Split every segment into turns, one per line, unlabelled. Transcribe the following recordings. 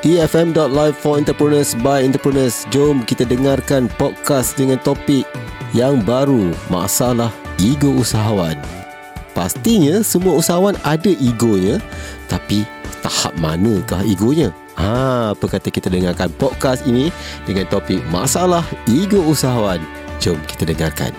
E bfm.live for entrepreneurs by entrepreneurs. Jom kita dengarkan podcast dengan topik yang baru, masalah ego usahawan. Pastinya semua usahawan ada egonya, tapi tahap manakah egonya? Ha, apa kata kita dengarkan podcast ini dengan topik masalah ego usahawan. Jom kita dengarkan.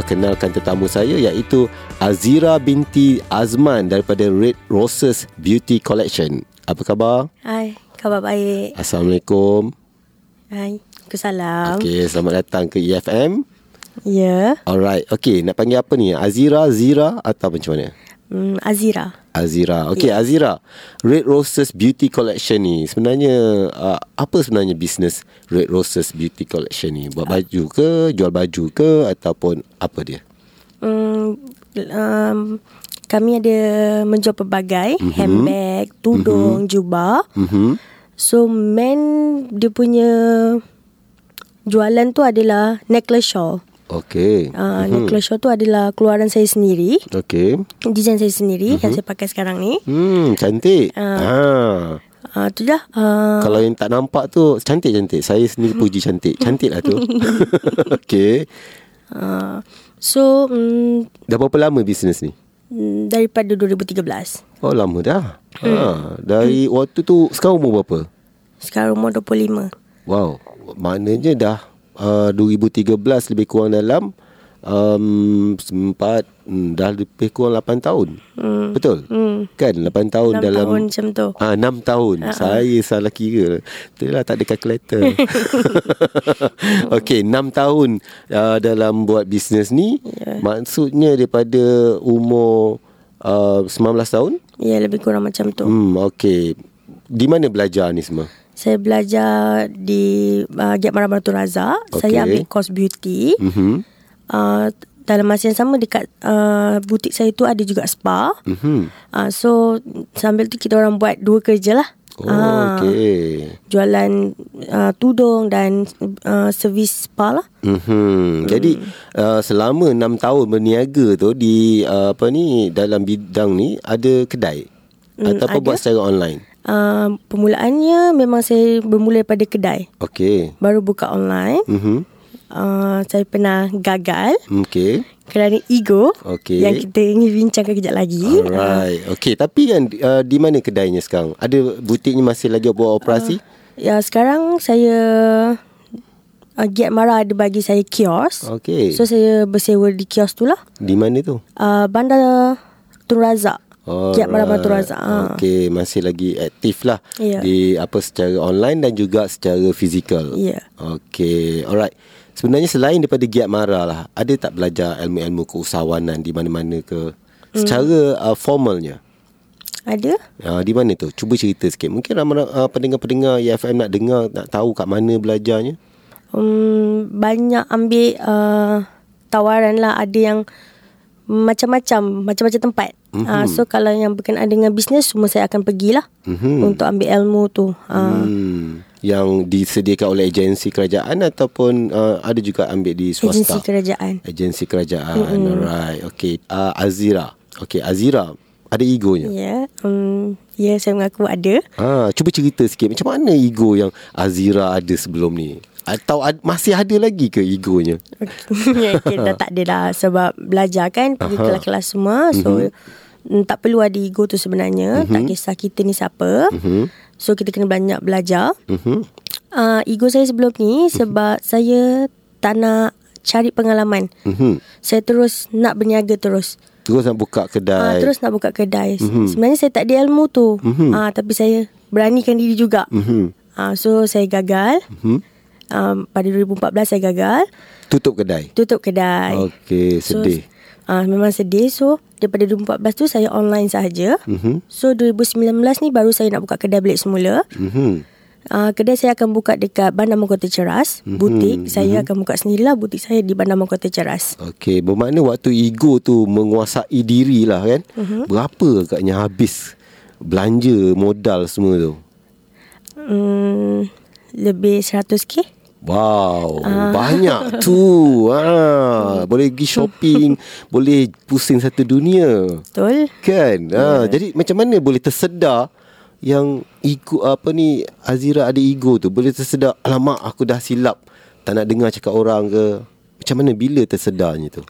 perkenalkan tetamu saya iaitu Azira binti Azman daripada Red Roses Beauty Collection. Apa khabar?
Hai, khabar baik.
Assalamualaikum.
Hai, aku salam. Okay.
Okey, selamat datang ke EFM.
Ya,
Alright, okey, nak panggil apa ni? Azira, Zira atau macam mana?
um, Azira.
Azira. Okey, yeah. Azira. Red Roses Beauty Collection ni sebenarnya uh, apa sebenarnya bisnes Red Roses Beauty Collection ni? Buat baju ke, jual baju ke ataupun apa dia?
Um, um, kami ada menjual pelbagai mm-hmm. handbag, tudung, mm-hmm. jubah.
Mhm.
So, main dia punya jualan tu adalah necklace shawl.
Okey.
Uh, mm-hmm. Necklace shawl tu adalah keluaran saya sendiri.
Okey.
Design saya
Mhm.
sendiri mm-hmm. yang saya pakai sekarang ni.
Hmm, cantik. Uh. Ha.
Uh, tu dah. Uh,
Kalau yang tak nampak tu cantik-cantik. Saya sendiri puji cantik. Cantik lah tu. Okey.
uh, so, um,
Dah berapa lama bisnes ni?
daripada 2013.
Oh, lama dah.
Hmm.
Ha, dari waktu tu sekarang umur berapa?
Sekarang umur 25.
Wow. Maknanya dah uh, 2013 lebih kurang dalam um, sempat mm, dah lebih kurang 8 tahun.
Mm,
Hmm. Betul? Hmm. Kan 8 tahun
Enam
dalam
tahun Ha, macam tu.
Ah, enam tahun. Uh-huh. Saya salah kira. Itulah tak ada kalkulator. Okey, enam tahun uh, dalam buat bisnes ni. Yeah.
Ya.
Maksudnya daripada umur uh, 19 tahun.
Ya, lebih kurang macam tu.
Hmm, okey. Di mana belajar ni semua?
Saya belajar di uh, Giat Marah Batu Razak.
Okey.
Saya ambil course beauty.
Mhm.
Uh, dalam masa yang sama dekat uh, butik saya tu ada juga spa.
Mhm.
Uh, so sambil tu kita orang buat dua kerja lah.
Oh,
Ah,
okey.
Jualan uh, tudung dan uh, servis spa lah.
Mm-hmm. Jadi
Hmm.
uh, selama enam tahun berniaga tu di uh, apa ni dalam bidang ni ada kedai
Hmm,
ataupun
ada.
buat secara online.
Uh, permulaannya memang saya bermula daripada kedai.
Okey.
Baru buka online.
Mhm.
Uh, saya pernah gagal
Okey.
kerana ego
Okey.
yang kita ingin bincangkan kejap lagi.
Alright. Okey, tapi kan uh, di mana kedainya sekarang? Ada butiknya masih lagi buat operasi?
Ya sekarang saya uh, Giat Mara ada bagi saya kios.
Okey.
Ah. So saya bersewa di kios tu lah.
di mana tu?
Uh, bandar Tun Razak. Giat Mara
Alright.
Batu Razak. Ah.
Okey, masih lagi aktif lah
Ya.
di apa secara online dan juga secara fizikal.
Ya.
Okey, alright. Sebenarnya selain daripada giat mara lah, ada tak belajar ilmu-ilmu keusahawanan di mana-mana ke?
Hmm.
Secara uh, formalnya.
Ada?
Uh, di mana tu? Cuba cerita sikit. Mungkin ramai uh, pendengar-pendengar EFM nak dengar, nak tahu kat mana belajarnya.
Um, banyak ambil uh, tawaran lah. Ada yang macam-macam, macam-macam tempat. Mm-hmm. Uh, so kalau yang berkenaan dengan bisnes, semua saya akan pergilah
Mhm.
untuk ambil ilmu tu. Uh,
Hmm. Yang disediakan oleh agensi kerajaan ataupun uh, ada juga ambil di swasta?
agensi kerajaan.
Agensi kerajaan mm-hmm. Alright Okay uh, Azira Okay Azira Ada egonya yeah.
Ya, yeah. um, yeah, saya mengaku ada.
ha, Cuba cerita sikit Macam mana ego yang Azira ada sebelum ni Atau ad, masih ada lagi ke egonya
Okay, Ya, dah tak ada dah sebab belajar kan pergi
Aha.
kelas-kelas semua so mm-hmm. tak perlu ada ego tu sebenarnya mm-hmm. tak kisah kita ni siapa mm-hmm. so kita kena banyak belajar
mm-hmm.
uh, ego saya sebelum ni sebab saya tak nak cari pengalaman
Mm-hmm.
saya terus nak berniaga terus
Terus nak buka
uh,
kedai
terus nak buka kedai mm-hmm. sebenarnya saya tak ada ilmu tu mm-hmm. uh, tapi saya beranikan diri juga
mm-hmm.
uh, so saya gagal
Mm-hmm.
um, pada 2014 saya gagal
Tutup kedai
tutup kedai
Okay Oh, sedih so,
Ah uh, memang sedih so daripada 2014 tu saya online sahaja.
mm-hmm.
So 2019 ni baru saya nak buka kedai balik semula.
Mm-hmm.
Uh, kedai saya akan buka dekat Bandar Mangkota Ceras. Mm-hmm. Butik saya mm-hmm. akan buka sendirilah butik saya di Bandar Mangkota Ceras.
Okay Bermakna waktu ego tu Menguasai diri lah kan
Mhm.
mm-hmm. Berapa agaknya habis Belanja modal semua tu
Hmm, lebih 100k.
Wow,
Ah.
banyak tu. Ha, boleh pergi shopping, boleh pusing satu dunia.
Betul.
Kan? Ha, jadi macam mana boleh tersedar yang ego apa ni Azira ada ego tu boleh tersedar alamak aku dah silap tak nak dengar cakap orang ke macam mana bila tersedarnya tu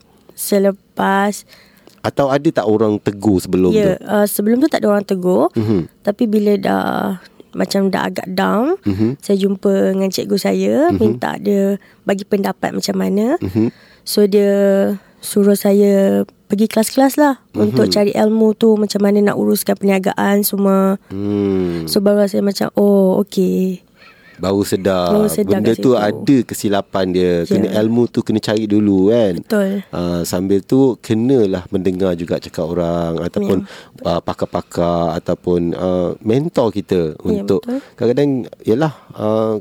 Selepas
atau ada tak orang tegur sebelum
Ya, yeah,
tu
uh, sebelum tu tak ada orang tegur. Mm-hmm. Tapi bila dah macam dah agak down, mm-hmm. saya jumpa dengan cikgu saya, mm-hmm. minta dia bagi pendapat macam mana. Mm-hmm. So dia suruh saya pergi kelas-kelas lah mm-hmm. untuk cari ilmu tu macam mana nak uruskan perniagaan semua.
hmm
So baru saya macam oh okay.
baru sedar,
Baru sedar
benda
kat
tu
situ. Ya.
ada kesilapan dia kena ilmu tu kena cari dulu kan
Betul.
Uh, sambil tu kenalah mendengar juga cakap orang ataupun yeah. uh, pakar-pakar ataupun uh, mentor kita untuk
betul.
kadang-kadang yalah uh,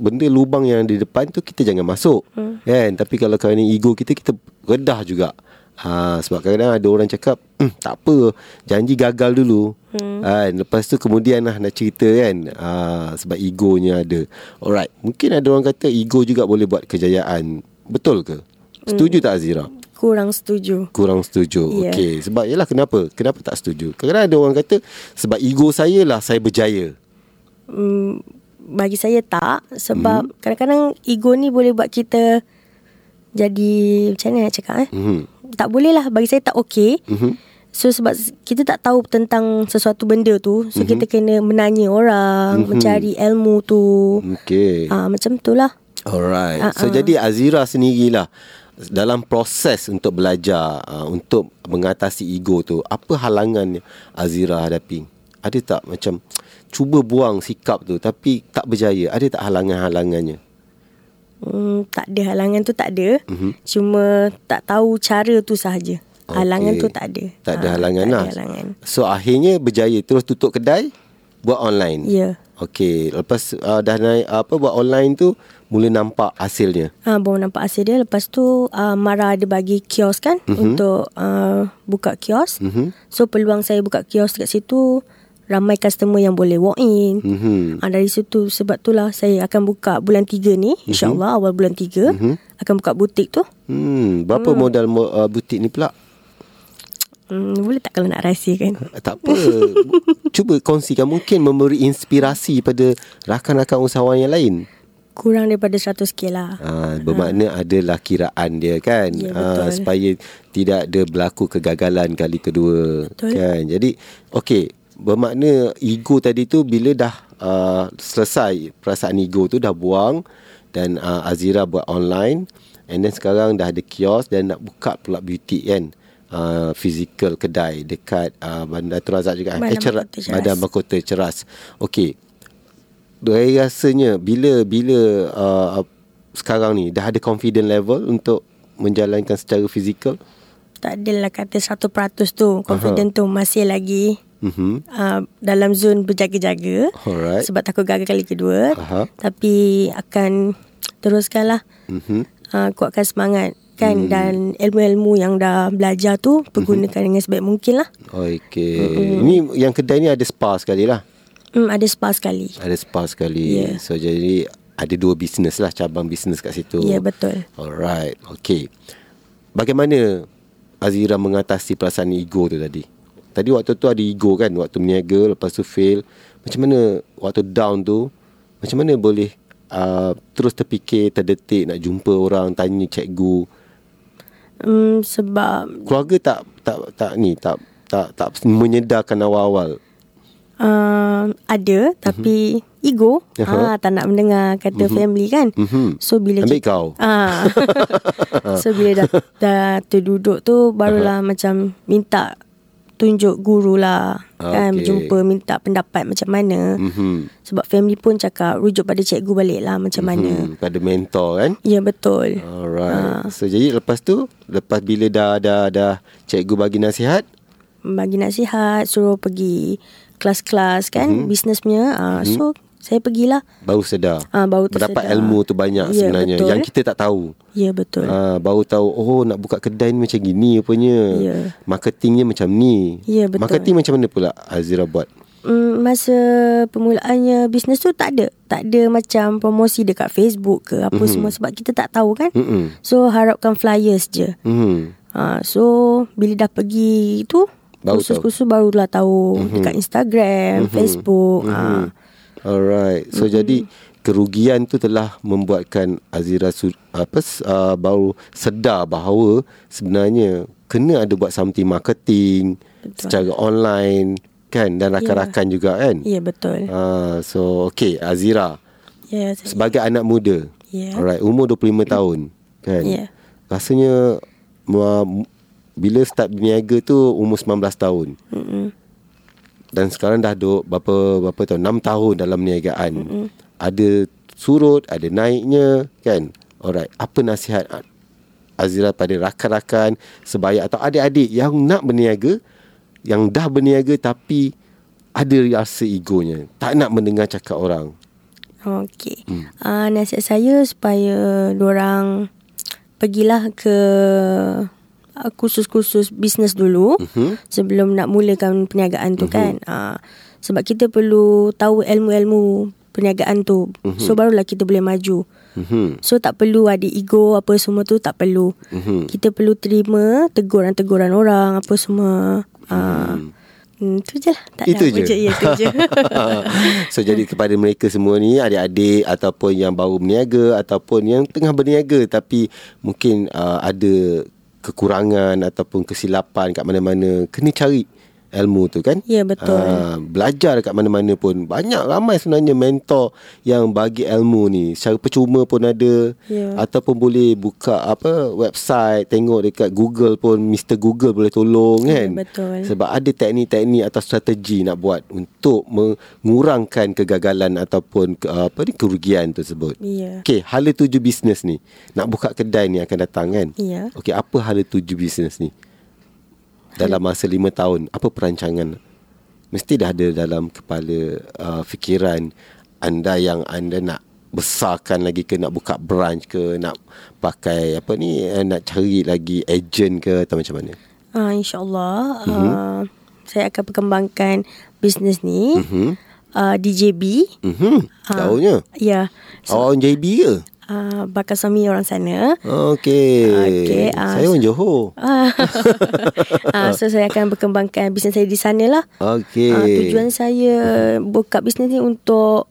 benda lubang yang di depan tu kita jangan masuk hmm. kan tapi kalau kerana ego kita kita redah juga Ha, sebab kadang-kadang ada orang cakap "Hmm, tak apa janji gagal dulu hmm. kan lepas tu kemudian lah nak cerita kan ha, sebab egonya ada alright mungkin ada orang kata ego juga boleh buat kejayaan betul ke setuju hmm. tak Azira
Kurang setuju.
kurang setuju. Yeah.
Ya.
Okey, sebab yalah kenapa? Kenapa tak setuju? Kadang-kadang ada orang kata sebab ego saya lah saya berjaya.
mm, bagi saya tak
Mhm.
sebab mm. kadang-kadang ego ni boleh buat kita jadi macam mana nak cakap eh
Mhm.
tak boleh lah bagi saya tak okey mm-hmm. so sebab s- kita tak tahu tentang sesuatu benda tu so mm-hmm.
Mhm.
kita kena menanya orang mm-hmm. mencari ilmu tu
Mhm. Okey.
ah macam tu lah
Alright. Uh-uh. So jadi Azira sendirilah dalam proses untuk belajar uh, untuk mengatasi ego tu, apa halangan yang Azira hadapi? Ada tak macam cuba buang sikap tu tapi tak berjaya? Ada tak halangan-halangannya?
Hmm, tak ada halangan tu tak ada
Mhm.
mm-hmm. Cuma tak tahu cara tu sahaja Halangan
Okey.
tu tak ada
Tak ada
Ah,
halangan
tak
lah.
ada halangan
So akhirnya berjaya terus tutup kedai buat online.
Ya.
Okey, lepas uh, dah naik apa buat online tu mula nampak hasilnya.
Ha, baru nampak hasil dia Lepas tu uh, Mara ada bagi kios kan mm-hmm. Untuk uh, buka kios mm-hmm. So peluang saya buka kios dekat situ Ramai customer yang boleh walk in mm-hmm. ha, Dari situ Sebab itulah saya akan buka bulan 3 ni InsyaAllah awal bulan 3 mm-hmm. Akan buka butik tu
Hmm, berapa hmm. modal mo- uh, butik ni pula?
hmm, Boleh tak kalau nak kan? rahsiakan
Eh, Tak apa. Bu- Cuba kongsikan mungkin memberi inspirasi pada rakan-rakan usahawan yang lain.
Kurang daripada 100k lah
Ha, bermakna adalah kiraan dia kan
Hmm. Ya,
Ah,
betul.
supaya tidak ada berlaku kegagalan kali kedua
Betul.
kan jadi okey bermakna ego tadi tu bila dah uh, selesai perasaan ego tu dah buang dan uh, Azira buat online and then sekarang dah ada kios dan nak buka pula beauty kan uh, physical kedai dekat uh, Bandar Terazak juga
Bandar
Ceras-
Mahkota Ceras.
Bandar Mahkota Ceras okey saya rasanya bila bila uh, sekarang ni dah ada confident level untuk menjalankan secara fizikal.
Tak adalah kata 100% tu Confident tu masih lagi
Mhm.
uh, dalam zon berjaga-jaga
Alright.
sebab takut gagal kali kedua
Aha.
tapi akan teruskanlah
Mhm.
uh, kuatkan semangat kan hmm. dan ilmu-ilmu yang dah belajar tu
Mhm.
pergunakan dengan sebaik mungkin lah
Okey. Ini yang kedai ni ada spa sekali lah.
hmm, ada spa sekali
Ada spa sekali.
Ya.
So jadi ada dua bisnes lah cabang bisnes kat situ.
ya betul
Alright. Okey. Bagaimana Azira mengatasi perasaan ego tu tadi? Tadi waktu tu ada ego kan, waktu berniaga lepas tu fail. Macam mana waktu down tu macam mana boleh uh, terus terfikir terdetik nak jumpa orang, tanya cikgu.
hmm, sebab
Keluarga tak tak tak ni tak tak tak menyedarkan awal-awal.
uh, ada tapi ego
Mhm. Aha.
ah tak nak mendengar kata family kan
Mhm.
so bila
Ambil
kita-
kau.
Ah. so bila dah, dah terduduk tu barulah macam minta tunjuk guru lah kan
Okey.
jumpa minta pendapat macam mana.
Mhm.
Sebab family pun cakap rujuk pada cikgu balik lah macam mana.
Hmm, pada mentor kan.
Ya betul.
Alright. So jadi lepas tu lepas bila dah dah dah cikgu bagi nasihat,
Bagi nasihat, suruh pergi kelas-kelas
Mhm.
kan business punya. Ah, so saya pergilah.
baru sedar.
Ah, baru
Dapat
tersedar.
ilmu tu banyak
Ya,
sebenarnya
betul.
yang kita tak tahu.
Ya betul.
Ah, baru tahu oh nak buka kedai ni macam gini rupanya.
Ya.
Marketingnya macam ni.
Ya, betul.
Marketing macam mana pula Azira buat?
Mm, masa permulaannya bisnes tu tak ada tak ada macam promosi dekat Facebook ke apa
Mhm.
mm-hmm. semua sebab kita tak tahu kan
Mm-mm.
so harapkan flyers je
Hmm.
ha, so bila dah pergi tu
Baru tahu. Mhm.
kursus-kursus barulah tahu mm-hmm. dekat Instagram mm-hmm. Facebook mm-hmm. Ha.
Alright. So mm-hmm. jadi kerugian tu telah membuatkan Azira su- apa s- uh, baru sedar bahawa sebenarnya kena ada buat something marketing Betul. secara online kan dan rakan-rakan yeah. juga kan.
ya betul
Uh, so okay Azira
ya saya-
sebagai anak muda.
Ya.
Alright, umur 25 tahun kan.
Ya.
Rasanya uh, bila start berniaga tu umur 19 tahun.
Mm-mm.
dan sekarang dah duduk berapa berapa tahun 6 tahun dalam perniagaan. Mm-hmm. Ada surut, ada naiknya kan. Alright, apa nasihat A- Azira pada rakan-rakan sebaya atau adik-adik yang nak berniaga, yang dah berniaga tapi ada rasa egonya, tak nak mendengar cakap orang.
Okey. Hmm. Uh, nasihat saya supaya orang pergilah ke uh, kursus-kursus bisnes dulu
Mhm.
uh-huh. sebelum nak mulakan perniagaan tu uh-huh. kan. Uh, sebab kita perlu tahu ilmu-ilmu perniagaan tu. Uh-huh. So barulah kita boleh maju.
Mhm.
So tak perlu ada ego apa semua tu tak perlu.
Mhm.
Kita perlu terima teguran-teguran orang apa semua. Ah. Hmm. tu je lah. Tak
Itu
ada apa
je.
Ya, itu je.
so jadi kepada mereka semua ni adik-adik ataupun yang baru berniaga ataupun yang tengah berniaga tapi mungkin uh, ada kekurangan ataupun kesilapan kat mana-mana kena cari ilmu tu kan
Ya, betul.
Ah, belajar kat mana-mana pun banyak ramai sebenarnya mentor yang bagi ilmu ni secara percuma pun ada
Ya.
ataupun boleh buka apa website tengok dekat Google pun Mr Google boleh tolong
Ya,
kan
betul.
sebab ada teknik-teknik atau strategi nak buat untuk mengurangkan kegagalan ataupun ke- apa ni kerugian tersebut.
Ya.
Okey, hala tuju bisnes ni. Nak buka kedai ni akan datang kan?
Ya.
Okey, apa hala tuju bisnes ni? Dalam masa lima tahun, apa perancangan? Mesti dah ada dalam kepala uh, fikiran anda yang anda nak besarkan lagi ke nak buka branch ke nak pakai apa ni eh, nak cari lagi agent ke atau macam mana?
Uh, InsyaAllah
Mhm.
mm-hmm. uh, Saya akan perkembangkan Bisnes ni mm-hmm. uh, DJB
Mhm. Ha. Tahunya.
Ya yeah.
So, oh, orang JB ke?
uh, Bakal suami orang sana
Okey.
Okey, ah,
Saya orang Johor.
Ah. Ah, So saya akan perkembangkan Bisnes saya di sana lah
Okey.
uh, Tujuan saya Buka bisnes ni untuk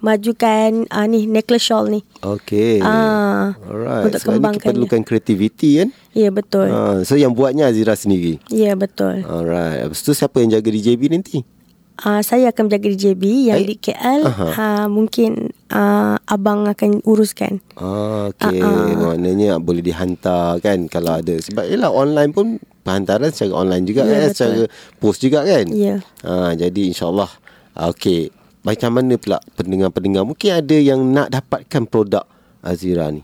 Majukan uh, ni Necklace shawl ni
Okey.
Ah,
Alright.
untuk
Sebab ni
kembangkannya.
keperlukan kreativiti kan?
Ya yeah, betul Ya
Ah, so yang buatnya Azira sendiri.
yeah, betul
Alright. Lepas tu siapa yang jaga DJB nanti?
uh, Saya akan menjaga DJB Yang
Baik.
di KL
Aha.
uh, Mungkin uh, Abang akan uruskan
Ah, okey. Uh-uh. Maknanya boleh dihantar kan kalau ada. Sebab ialah online pun penghantaran secara online juga yeah, kan,
Ya, betul.
secara post juga kan.
Ya.
Ah, jadi insyaallah ah, okey. Macam mana pula pendengar-pendengar mungkin ada yang nak dapatkan produk Azira ni?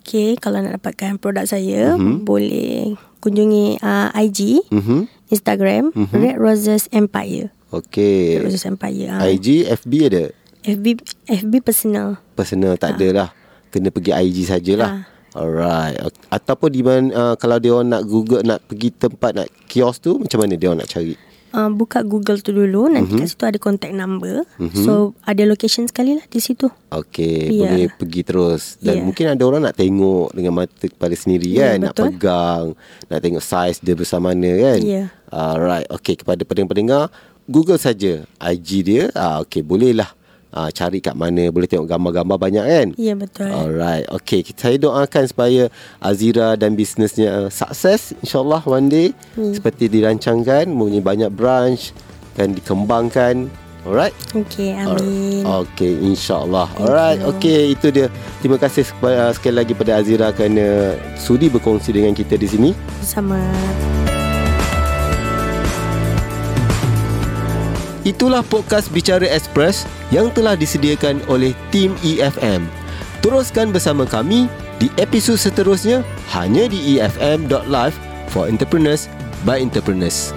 Okey, kalau nak dapatkan produk saya mm-hmm. boleh kunjungi uh, IG,
Mhm.
Instagram mm-hmm. Red Roses Empire. Red
Okey.
Roses Empire. Uh,
IG, FB ada?
FB FB personal.
Personal
Ah.
tak ada lah. Kena pergi IG sajalah. Alright. Ok- Ataupun di mana uh, kalau dia orang nak Google nak pergi tempat nak kios tu macam mana dia orang nak cari?
Uh, buka Google tu dulu
Mhm.
nanti mm-hmm. kat situ ada contact number. Mm-hmm. So ada location sekali lah di situ.
Okey, yeah.
Ya.
boleh pergi terus dan yeah.
Ya.
mungkin ada orang nak tengok dengan mata kepala sendiri kan,
Ya,
nak
betul.
pegang, nak tengok saiz dia besar mana kan.
Ya.
Alright, okey kepada pendengar-pendengar, Google saja IG dia, ah okey bolehlah ah, cari kat mana, boleh tengok gambar-gambar banyak kan.
Ya betul. Uh,
Alright, okay. Saya doakan supaya Azira dan bisnesnya uh, sukses insyaAllah one day hmm. seperti dirancangkan, mempunyai banyak branch dan dikembangkan. Alright.
Okey, amin. Uh,
Okay, insyaAllah. Alright, okay. Itu dia. Terima kasih sepa- uh, sekali lagi pada Azira kerana sudi berkongsi dengan kita di sini.
Sama.
Itulah podcast Bicara Express yang telah disediakan oleh tim EFM. Teruskan bersama kami di episod E seterusnya hanya di efm.live for entrepreneurs by entrepreneurs.